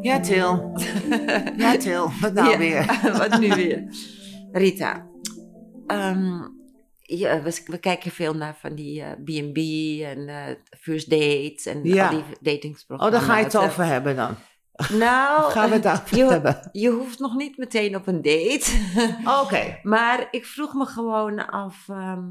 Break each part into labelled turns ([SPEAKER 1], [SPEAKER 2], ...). [SPEAKER 1] Ja, Til. Ja, Til. Wat nou
[SPEAKER 2] Ja,
[SPEAKER 1] weer?
[SPEAKER 2] Wat nu weer?
[SPEAKER 1] Rita, ehm,
[SPEAKER 2] Ja, we, we kijken veel naar van die eh, B&B en eh, first dates en
[SPEAKER 1] Ja.
[SPEAKER 2] al die datingsprogramma's.
[SPEAKER 1] oh, daar ga je het
[SPEAKER 2] Eh,
[SPEAKER 1] over hebben dan.
[SPEAKER 2] Nou,
[SPEAKER 1] Gaan we het over
[SPEAKER 2] je,
[SPEAKER 1] hebben.
[SPEAKER 2] je hoeft nog niet meteen op een date.
[SPEAKER 1] Oké.
[SPEAKER 2] Maar ik vroeg me gewoon af. ehm,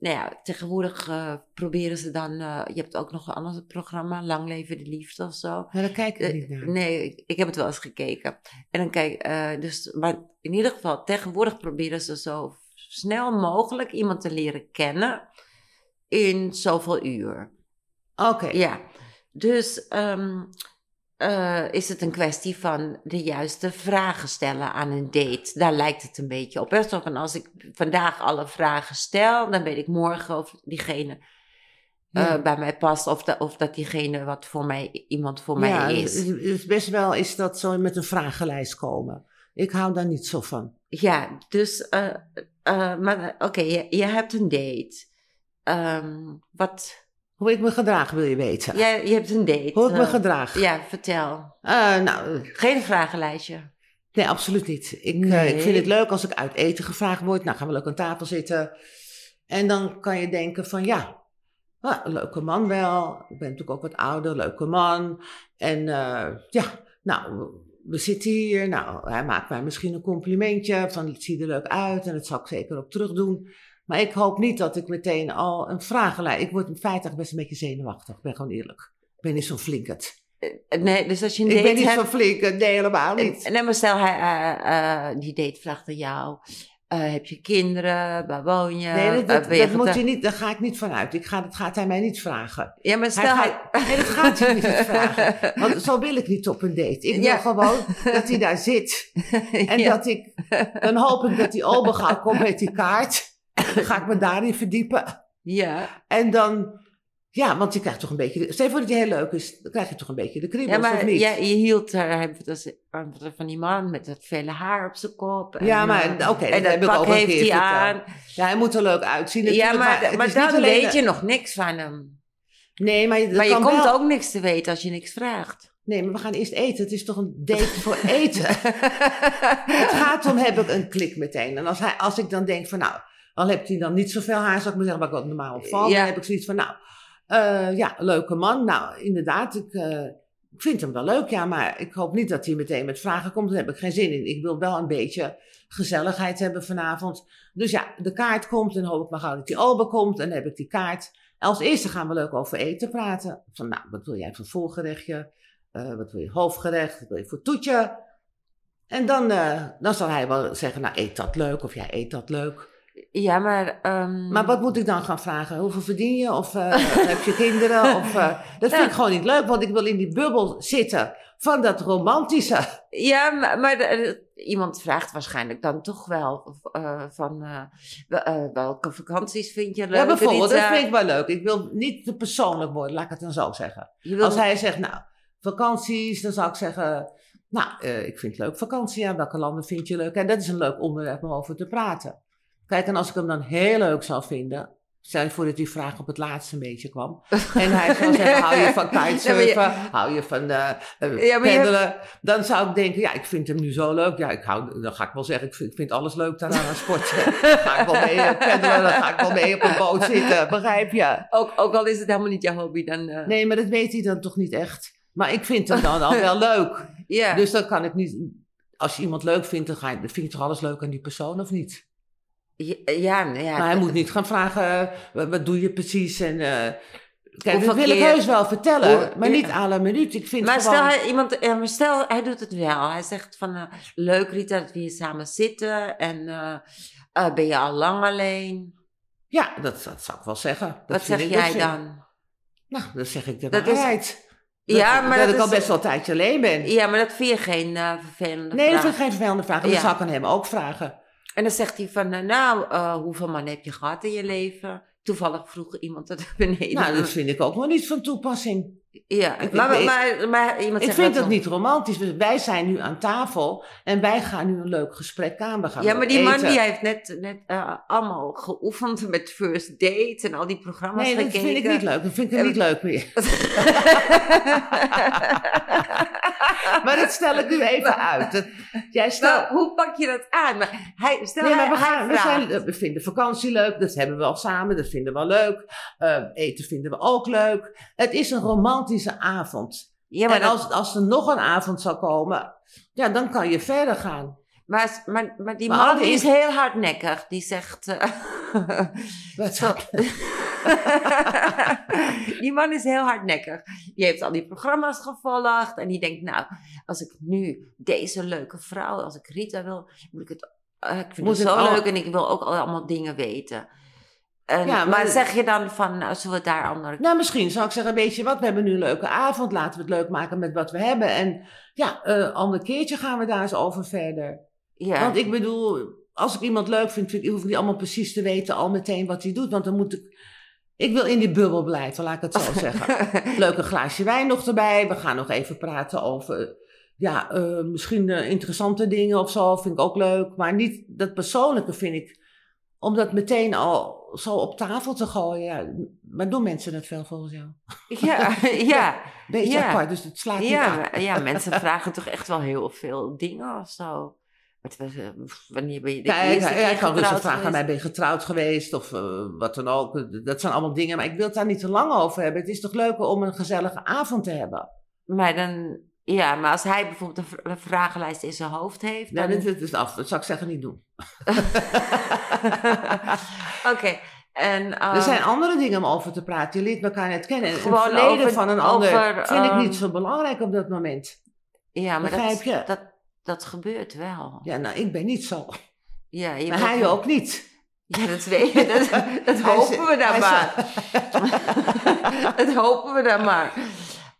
[SPEAKER 2] nou ja, tegenwoordig eh, proberen ze dan. eh, je hebt ook nog een ander programma, Lang Leven de Liefde of zo.
[SPEAKER 1] Nou, daar kijk ik
[SPEAKER 2] Eh,
[SPEAKER 1] niet naar.
[SPEAKER 2] nee, ik- ik heb het wel eens gekeken. En dan kijk, eh, dus, maar in ieder geval, tegenwoordig proberen ze zo snel mogelijk iemand te leren kennen in zoveel uur.
[SPEAKER 1] Oké.
[SPEAKER 2] Ja, dus ehm, eh, is het een kwestie van de juiste vragen stellen aan een date. Daar lijkt het een beetje op. hè. Zo van als ik vandaag alle vragen stel, dan weet ik morgen of diegene eh,
[SPEAKER 1] Ja.
[SPEAKER 2] bij mij past of, da- of dat diegene wat voor mij, iemand voor
[SPEAKER 1] ja,
[SPEAKER 2] mij is.
[SPEAKER 1] het is best wel is dat zo met een vragenlijst komen. Ik hou daar niet zo van.
[SPEAKER 2] Ja, dus, eh, eh, maar oké, je, je hebt een date. Ehm, wat?
[SPEAKER 1] Hoe ik me gedraag wil je weten.
[SPEAKER 2] Ja, je hebt een date.
[SPEAKER 1] Hoe ik me
[SPEAKER 2] Eh,
[SPEAKER 1] gedraag.
[SPEAKER 2] Ja, vertel.
[SPEAKER 1] Eh, nou,
[SPEAKER 2] Geen vragenlijstje.
[SPEAKER 1] Nee, absoluut niet. Ik, eh,
[SPEAKER 2] Nee.
[SPEAKER 1] ik vind het leuk als ik uit eten gevraagd word. Nou, gaan we leuk aan tafel zitten. En dan kan je denken van ja, nou, een leuke man wel. Ik ben natuurlijk ook wat ouder, leuke man. En eh, ja, nou, we zitten hier. Nou, hij maakt mij misschien een complimentje van het ziet er leuk uit. En dat zal ik zeker ook terug doen. Maar ik hoop niet dat ik meteen al een vragenlijst... Ik word in feite echt best een beetje zenuwachtig. Ik ben gewoon eerlijk. Ik ben niet zo'n flinkert.
[SPEAKER 2] Eh, Nee, dus als je een
[SPEAKER 1] Ik
[SPEAKER 2] date
[SPEAKER 1] ben niet
[SPEAKER 2] hebt...
[SPEAKER 1] zo'n flinkert. Nee, helemaal niet.
[SPEAKER 2] Nee, maar stel, hij, eh, eh, die date vraagt aan jou... eh, heb je kinderen? Waar woon je?
[SPEAKER 1] Nee, dat,
[SPEAKER 2] Eh,
[SPEAKER 1] dat,
[SPEAKER 2] ben je
[SPEAKER 1] dat moet
[SPEAKER 2] getrouwd?
[SPEAKER 1] je niet, daar ga ik niet van uit. Ik ga, dat gaat hij mij niet vragen.
[SPEAKER 2] Ja, maar
[SPEAKER 1] Hij
[SPEAKER 2] stel...
[SPEAKER 1] gaat- nee, dat gaat hij niet vragen. Want zo wil ik niet op een date. Ik wil
[SPEAKER 2] Ja.
[SPEAKER 1] gewoon dat hij daar zit. En
[SPEAKER 2] Ja.
[SPEAKER 1] dat ik, dan hoop ik dat die ober gaat komt met die kaart. Dan ga ik me daarin verdiepen.
[SPEAKER 2] Ja.
[SPEAKER 1] En dan, ja, want je krijgt toch een beetje, stel je voor dat hij heel leuk is, dan krijg je toch een beetje de kriebels,
[SPEAKER 2] ja,
[SPEAKER 1] of
[SPEAKER 2] maar
[SPEAKER 1] niet?
[SPEAKER 2] jij- je hield eh, haar hebben we het als- van- van die man met dat vele haar op zijn kop. En,
[SPEAKER 1] Ja, maar
[SPEAKER 2] eh,
[SPEAKER 1] oké, dat
[SPEAKER 2] en dat
[SPEAKER 1] heb ik
[SPEAKER 2] pak
[SPEAKER 1] ook een
[SPEAKER 2] heeft
[SPEAKER 1] keer
[SPEAKER 2] hij
[SPEAKER 1] verteld.
[SPEAKER 2] aan.
[SPEAKER 1] Ja, hij moet er leuk uitzien
[SPEAKER 2] Ja,
[SPEAKER 1] natuurlijk,
[SPEAKER 2] maar,
[SPEAKER 1] het
[SPEAKER 2] maar,
[SPEAKER 1] is niet
[SPEAKER 2] dan
[SPEAKER 1] alleen-
[SPEAKER 2] weet je nog niks van hem.
[SPEAKER 1] Nee, maar, dat
[SPEAKER 2] Maar je
[SPEAKER 1] kan
[SPEAKER 2] komt
[SPEAKER 1] wel.
[SPEAKER 2] ook niks te weten als je niks vraagt.
[SPEAKER 1] Nee, maar we gaan eerst eten. Het is toch een date voor eten? Het gaat om, heb ik een klik meteen. En als, hij, als ik dan denk van, nou, al hebt hij dan niet zoveel haar, zou ik maar zeggen, maar ik wat normaal opvalt.
[SPEAKER 2] Ja.
[SPEAKER 1] Dan heb ik zoiets van, nou, eh, ja, leuke man. Nou, inderdaad, ik, eh, ik vind hem wel leuk, ja, maar ik hoop niet dat hij meteen met vragen komt. Daar heb ik geen zin in. Ik wil wel een beetje gezelligheid hebben vanavond. Dus ja, de kaart komt en hoop ik maar gauw dat die ober komt. En dan heb ik die kaart. Als eerste gaan we leuk over eten praten. Van, nou, wat wil jij voor voorgerechtje? Eh, wat wil je hoofdgerecht? Wat wil je voor toetje? En dan, eh, dan zal hij wel zeggen, nou eet dat leuk of jij eet dat leuk.
[SPEAKER 2] Ja, maar... ehm,
[SPEAKER 1] Maar wat moet ik dan gaan vragen? Hoeveel verdien je? Of eh, heb je kinderen? Of, eh, dat vind
[SPEAKER 2] Ja.
[SPEAKER 1] ik gewoon niet leuk, want ik wil in die bubbel zitten van dat romantische.
[SPEAKER 2] Ja, maar, maar de- de- iemand vraagt waarschijnlijk dan toch wel eh, van... eh, wel- eh, welke vakanties vind je leuk?
[SPEAKER 1] ja, bijvoorbeeld, dat
[SPEAKER 2] Rita?
[SPEAKER 1] vind ik wel leuk. Ik wil niet te persoonlijk worden, laat ik het dan zo zeggen.
[SPEAKER 2] Je wil-
[SPEAKER 1] Als hij zegt, nou, vakanties, dan zou ik zeggen, nou, eh, ik vind het leuk vakantie. Ja, welke landen vind je leuk? En dat is een leuk onderwerp om over te praten. Kijk, en als ik hem dan heel leuk zou vinden, stel je voor dat die vraag op het laatste een beetje kwam. En hij zou zeggen, hou je van kitesurfen,
[SPEAKER 2] Ja, maar
[SPEAKER 1] hou je van eh, eh,
[SPEAKER 2] Ja, maar je
[SPEAKER 1] peddelen. Dan zou ik denken, ja, ik vind hem nu zo leuk. Ja, ik hou, dan ga ik wel zeggen, ik vind, ik vind alles leuk daarna aan sporten. Dan ga ik wel mee eh, peddelen, dan ga ik wel mee op een boot zitten, begrijp je?
[SPEAKER 2] Ook, ook al is het helemaal niet jouw hobby, dan... eh,
[SPEAKER 1] Nee, maar dat weet hij dan toch niet echt. Maar ik vind hem dan al wel leuk.
[SPEAKER 2] ja.
[SPEAKER 1] Dus dan kan ik niet. Als je iemand leuk vindt, dan ga je, vind je toch alles leuk aan die persoon of niet?
[SPEAKER 2] ja, ja, nou ja,
[SPEAKER 1] Maar hij moet niet gaan vragen: eh, wat, wat doe je precies? En, eh, kijk,
[SPEAKER 2] Hoeveel
[SPEAKER 1] dat wil ik
[SPEAKER 2] keer-
[SPEAKER 1] heus wel vertellen,
[SPEAKER 2] Hoe-
[SPEAKER 1] maar
[SPEAKER 2] ja.
[SPEAKER 1] niet à la minuut. Ik vind
[SPEAKER 2] Maar
[SPEAKER 1] gewoon.
[SPEAKER 2] stel, hij, iemand, ja, maar stel, hij doet het wel. Hij zegt van, eh, leuk Rita dat we hier samen zitten. En eh, eh, ben je al lang alleen?
[SPEAKER 1] Ja, dat, dat zou ik wel zeggen. Dat
[SPEAKER 2] Wat
[SPEAKER 1] vind
[SPEAKER 2] zeg
[SPEAKER 1] ik- dat
[SPEAKER 2] jij
[SPEAKER 1] vind-
[SPEAKER 2] dan?
[SPEAKER 1] Nou, dan zeg ik de
[SPEAKER 2] Dat is-
[SPEAKER 1] waarheid.
[SPEAKER 2] Ja, maar
[SPEAKER 1] dat,
[SPEAKER 2] dat
[SPEAKER 1] ik al
[SPEAKER 2] is-
[SPEAKER 1] best wel een tijdje alleen ben.
[SPEAKER 2] Ja, maar dat vind je geen eh, vervelende
[SPEAKER 1] nee, dat
[SPEAKER 2] vraag.
[SPEAKER 1] vind ik geen vervelende vraag. en Dat
[SPEAKER 2] Ja.
[SPEAKER 1] zou ik aan hem ook vragen.
[SPEAKER 2] En dan zegt hij van, eh, nou, eh, hoeveel mannen heb je gehad in je leven? Toevallig vroeg iemand dat beneden.
[SPEAKER 1] Nou, dat Nou, vind ik ook nog niet van toepassing.
[SPEAKER 2] Ja,
[SPEAKER 1] Ik-
[SPEAKER 2] maar,
[SPEAKER 1] ik-
[SPEAKER 2] maar, maar iemand
[SPEAKER 1] Ik
[SPEAKER 2] zegt
[SPEAKER 1] vind
[SPEAKER 2] dat
[SPEAKER 1] dat
[SPEAKER 2] dan-
[SPEAKER 1] niet romantisch. want Wij zijn nu aan tafel en wij gaan nu een leuk gesprek aan. We gaan
[SPEAKER 2] Ja,
[SPEAKER 1] wat
[SPEAKER 2] maar die man
[SPEAKER 1] eten.
[SPEAKER 2] die heeft net, net eh, allemaal geoefend met first date en al die programma's
[SPEAKER 1] Nee, dat
[SPEAKER 2] gekeken.
[SPEAKER 1] vind ik niet leuk. Dat vind ik
[SPEAKER 2] Ehm.
[SPEAKER 1] niet leuk meer. Maar dat stel ik nu even uit. Dat, jij stelt...
[SPEAKER 2] Nou, hoe pak je dat aan? Maar hij, stel
[SPEAKER 1] Nee,
[SPEAKER 2] hij,
[SPEAKER 1] maar we,
[SPEAKER 2] hij
[SPEAKER 1] gaan, we,
[SPEAKER 2] vraagt.
[SPEAKER 1] zijn, we vinden vakantie leuk, dat hebben we al samen, dat vinden we leuk. Eh, eten vinden we ook leuk. Het is een romantische avond.
[SPEAKER 2] Ja, maar,
[SPEAKER 1] en
[SPEAKER 2] dat-
[SPEAKER 1] als, als er nog een avond zou komen, ja, dan kan je verder gaan.
[SPEAKER 2] maar, maar, maar die
[SPEAKER 1] Maar
[SPEAKER 2] man
[SPEAKER 1] Aldi
[SPEAKER 2] die is
[SPEAKER 1] is-
[SPEAKER 2] heel hardnekkig. Die zegt... eh,
[SPEAKER 1] Dat-
[SPEAKER 2] Zo. die man is heel hardnekkig. Die heeft al die programma's gevolgd. En die denkt, nou, als ik nu deze leuke vrouw, als ik Rita wil, moet ik het... eh, ik vind
[SPEAKER 1] Moet
[SPEAKER 2] het
[SPEAKER 1] het
[SPEAKER 2] zo
[SPEAKER 1] al-
[SPEAKER 2] leuk en ik wil ook al allemaal dingen weten. En,
[SPEAKER 1] Ja,
[SPEAKER 2] maar,
[SPEAKER 1] maar-
[SPEAKER 2] zeg je dan van, nou, zullen we het daar andere...
[SPEAKER 1] Nou, misschien zou ik zeggen, weet je wat, we hebben nu een leuke avond. Laten we het leuk maken met wat we hebben. En ja, eh ander keertje gaan we daar eens over verder.
[SPEAKER 2] Ja,
[SPEAKER 1] Want ik bedoel, als ik iemand leuk vind, vind ik, hoef ik niet allemaal precies te weten al meteen wat hij doet. Want dan moet ik... Ik wil in die bubbel blijven, laat ik het zo zeggen. Leuke glaasje wijn nog erbij. We gaan nog even praten over, ja, eh, misschien eh, interessante dingen of zo. Vind ik ook leuk. Maar niet dat persoonlijke vind ik, om dat meteen al zo op tafel te gooien. Ja, maar doen mensen dat veel volgens jou?
[SPEAKER 2] ja, ja,
[SPEAKER 1] Beetje
[SPEAKER 2] Ja.
[SPEAKER 1] apart, dus het slaat niet aan.
[SPEAKER 2] ja, ja, mensen vragen toch echt wel heel veel dingen of zo. Wat was, eh, Wanneer ben je de
[SPEAKER 1] Kijk,
[SPEAKER 2] eerste
[SPEAKER 1] hij,
[SPEAKER 2] keer
[SPEAKER 1] hij kan rustig
[SPEAKER 2] getrouwd
[SPEAKER 1] vragen aan
[SPEAKER 2] geweest?
[SPEAKER 1] mij, ben je getrouwd geweest of eh, wat dan ook. Dat zijn allemaal dingen, maar ik wil het daar niet te lang over hebben. Het is toch leuker om een gezellige avond te hebben?
[SPEAKER 2] Maar dan, ja, maar als hij bijvoorbeeld een vr- een vragenlijst in zijn hoofd heeft,
[SPEAKER 1] Nou,
[SPEAKER 2] dan...
[SPEAKER 1] dit, dit is af, dat zou ik zeggen niet doen.
[SPEAKER 2] Oké, en... ehm,
[SPEAKER 1] er zijn andere dingen om over te praten. Je leert elkaar net kennen. Het
[SPEAKER 2] Gewoon
[SPEAKER 1] verleden
[SPEAKER 2] over-
[SPEAKER 1] van een ander
[SPEAKER 2] over,
[SPEAKER 1] vind ik
[SPEAKER 2] ehm,
[SPEAKER 1] niet zo belangrijk op dat moment.
[SPEAKER 2] ja, maar dat,
[SPEAKER 1] begrijp je?
[SPEAKER 2] dat, dat gebeurt wel.
[SPEAKER 1] Ja, nou, ik ben niet zo.
[SPEAKER 2] Ja, je
[SPEAKER 1] Maar
[SPEAKER 2] bent-
[SPEAKER 1] hij ook niet.
[SPEAKER 2] Ja, dat weet je, dat, dat
[SPEAKER 1] Hij
[SPEAKER 2] hopen
[SPEAKER 1] is-
[SPEAKER 2] we dan
[SPEAKER 1] hij is-
[SPEAKER 2] maar. dat hopen we dan maar.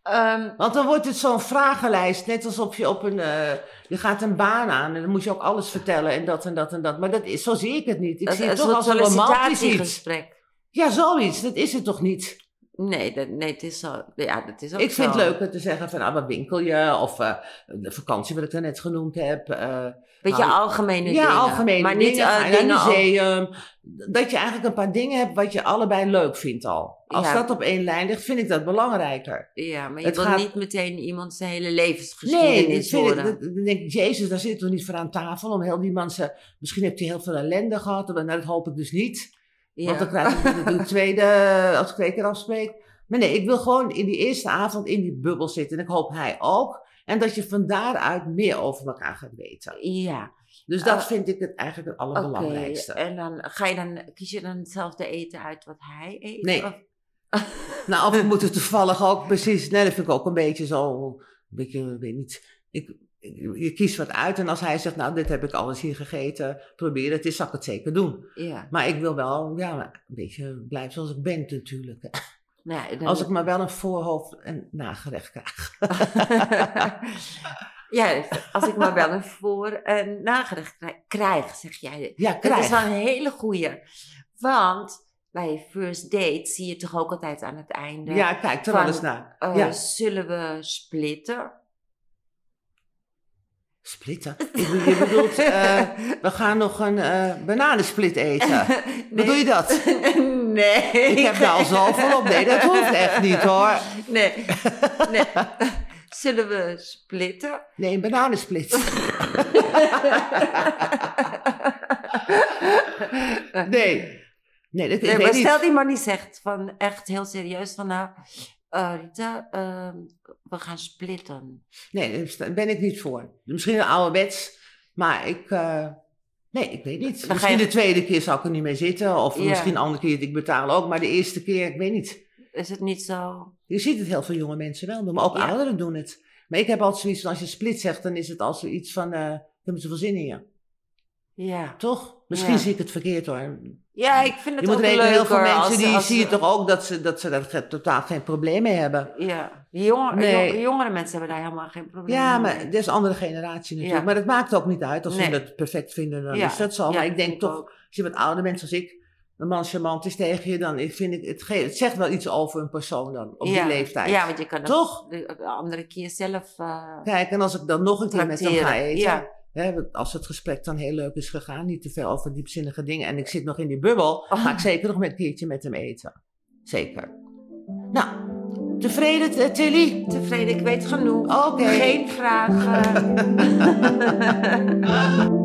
[SPEAKER 2] Ehm,
[SPEAKER 1] Want dan wordt het zo'n vragenlijst, net alsof je op een... eh, je gaat een baan aan en dan moet je ook alles vertellen en dat en dat en dat. Maar dat is, zo zie ik het niet. Ik
[SPEAKER 2] dat
[SPEAKER 1] zie
[SPEAKER 2] is
[SPEAKER 1] het
[SPEAKER 2] een
[SPEAKER 1] toch
[SPEAKER 2] soort
[SPEAKER 1] als een romantisch iets.
[SPEAKER 2] sollicitatiegesprek.
[SPEAKER 1] Ja, zoiets. Dat is het toch niet?
[SPEAKER 2] Nee, dat, nee, het is zo. Ja, dat is ook
[SPEAKER 1] ik vind
[SPEAKER 2] zo.
[SPEAKER 1] het leuker te zeggen van, ah, wat winkel je? Of eh, de vakantie wat ik daarnet genoemd heb. eh,
[SPEAKER 2] Beetje
[SPEAKER 1] Nou,
[SPEAKER 2] algemene
[SPEAKER 1] ja,
[SPEAKER 2] dingen.
[SPEAKER 1] algemene
[SPEAKER 2] maar
[SPEAKER 1] dingen.
[SPEAKER 2] niet eh,
[SPEAKER 1] ga je naar
[SPEAKER 2] dingen
[SPEAKER 1] een
[SPEAKER 2] over-
[SPEAKER 1] museum. Dat je eigenlijk een paar dingen hebt wat je allebei leuk vindt al. Als
[SPEAKER 2] Ja.
[SPEAKER 1] dat op één lijn ligt, vind ik dat belangrijker.
[SPEAKER 2] Ja, maar je
[SPEAKER 1] Het
[SPEAKER 2] wil
[SPEAKER 1] gaat-
[SPEAKER 2] niet meteen iemand zijn hele
[SPEAKER 1] Nee,
[SPEAKER 2] levensgeschiedenis
[SPEAKER 1] dat vind ik,
[SPEAKER 2] horen.
[SPEAKER 1] dat- dan denk ik, jezus, daar zitten we niet voor aan tafel. Om heel die mensen, misschien heeft hij heel veel ellende gehad. Maar dat hoop ik dus niet.
[SPEAKER 2] ja.
[SPEAKER 1] Want dan krijg ik natuurlijk een tweede, als ik twee keer afspreek. Maar nee, ik wil gewoon in die eerste avond in die bubbel zitten. En ik hoop hij ook. En dat je van daaruit meer over elkaar gaat weten.
[SPEAKER 2] ja,
[SPEAKER 1] Dus dat
[SPEAKER 2] Eh,
[SPEAKER 1] vind ik het eigenlijk het
[SPEAKER 2] oké.
[SPEAKER 1] allerbelangrijkste.
[SPEAKER 2] En dan ga je dan, kies je dan hetzelfde eten uit wat hij eet?
[SPEAKER 1] Nee.
[SPEAKER 2] Of-
[SPEAKER 1] Nou, of we moeten toevallig ook precies. Nee, dat vind ik ook een beetje zo. Een beetje, ik weet niet. Ik, ik- je kiest wat uit en als hij zegt, nou, dit heb ik alles hier gegeten, probeer het eens, zal ik het zeker doen.
[SPEAKER 2] Ja.
[SPEAKER 1] Maar ik wil wel, ja, een beetje blijven zoals ik ben natuurlijk.
[SPEAKER 2] Nou, dan-
[SPEAKER 1] Als ik maar wel een voorhoofd en nagerecht krijg.
[SPEAKER 2] ja, als ik maar wel een voor- en nagerecht krij- krijg, zeg jij.
[SPEAKER 1] Ja,
[SPEAKER 2] Dat is
[SPEAKER 1] krijg.
[SPEAKER 2] wel een hele goeie. Want bij first date zie je toch ook altijd aan het einde.
[SPEAKER 1] Ja, kijk er
[SPEAKER 2] Van,
[SPEAKER 1] wel eens naar.
[SPEAKER 2] eh,
[SPEAKER 1] ja.
[SPEAKER 2] Zullen we splitten?
[SPEAKER 1] Splitten. Ik bedoel- Je bedoelt, eh, we gaan nog een eh, bananensplit eten. Bedoel je dat?
[SPEAKER 2] nee.
[SPEAKER 1] Ik heb daar al zoveel op. Nee, dat hoeft echt niet hoor.
[SPEAKER 2] Nee. nee. Zullen we splitten?
[SPEAKER 1] Nee, een bananensplit. Nee. Nee, dat, ik
[SPEAKER 2] Nee, maar
[SPEAKER 1] weet niet.
[SPEAKER 2] stel die man die zegt van echt heel serieus van nou, eh, Rita, eh, we gaan splitten.
[SPEAKER 1] Nee, daar ben ik niet voor. Misschien een ouderwets, maar ik... eh, nee, ik weet niet.
[SPEAKER 2] Dan ga
[SPEAKER 1] Misschien
[SPEAKER 2] je-
[SPEAKER 1] de tweede keer zal ik er niet mee zitten. Of
[SPEAKER 2] Ja.
[SPEAKER 1] misschien de andere keer, ik betaal ook. Maar de eerste keer, ik weet niet.
[SPEAKER 2] Is het niet zo?
[SPEAKER 1] Je ziet het heel veel jonge mensen wel doen, maar ook
[SPEAKER 2] Ja.
[SPEAKER 1] ouderen doen het. Maar ik heb altijd zoiets van, als je split zegt, dan is het als zoiets van... eh ik heb er zoveel zin in je,
[SPEAKER 2] Ja.
[SPEAKER 1] toch? Misschien
[SPEAKER 2] Ja.
[SPEAKER 1] zie ik het verkeerd hoor.
[SPEAKER 2] Ja, ik vind het
[SPEAKER 1] Je moet
[SPEAKER 2] ook leuker.
[SPEAKER 1] rekenen, heel veel mensen
[SPEAKER 2] als-
[SPEAKER 1] die
[SPEAKER 2] als-
[SPEAKER 1] zie je toch ook dat ze, dat ze daar ge- totaal geen probleem mee hebben.
[SPEAKER 2] Ja, jong,
[SPEAKER 1] Nee.
[SPEAKER 2] jong- jongere mensen hebben daar helemaal geen probleem
[SPEAKER 1] Ja,
[SPEAKER 2] mee.
[SPEAKER 1] maar dat is een andere generatie natuurlijk.
[SPEAKER 2] Ja.
[SPEAKER 1] Maar dat maakt ook niet uit. Als
[SPEAKER 2] Nee.
[SPEAKER 1] ze dat perfect vinden, dan
[SPEAKER 2] Ja.
[SPEAKER 1] is dat zo.
[SPEAKER 2] Ja,
[SPEAKER 1] maar ik denk
[SPEAKER 2] ik
[SPEAKER 1] toch,
[SPEAKER 2] ook.
[SPEAKER 1] als je wat oude mensen als ik, een man charmant is tegen je, dan vind ik, het, ge- het zegt wel iets over een persoon dan, op
[SPEAKER 2] Ja.
[SPEAKER 1] die leeftijd.
[SPEAKER 2] Ja, want je kan het
[SPEAKER 1] Toch?
[SPEAKER 2] de de andere keer zelf... eh,
[SPEAKER 1] Kijk, en als ik dan nog een keer met hem
[SPEAKER 2] Tracteren,
[SPEAKER 1] ga eten,
[SPEAKER 2] ja.
[SPEAKER 1] hè, want als het gesprek dan heel leuk is gegaan, niet te veel over diepzinnige dingen, en ik zit nog in die bubbel,
[SPEAKER 2] Oh.
[SPEAKER 1] ga ik zeker nog met een keertje met hem eten. Zeker. Nou, tevreden eh, Tilly? Oh,
[SPEAKER 2] tevreden, ik weet genoeg.
[SPEAKER 1] Oké.
[SPEAKER 2] Geen vragen.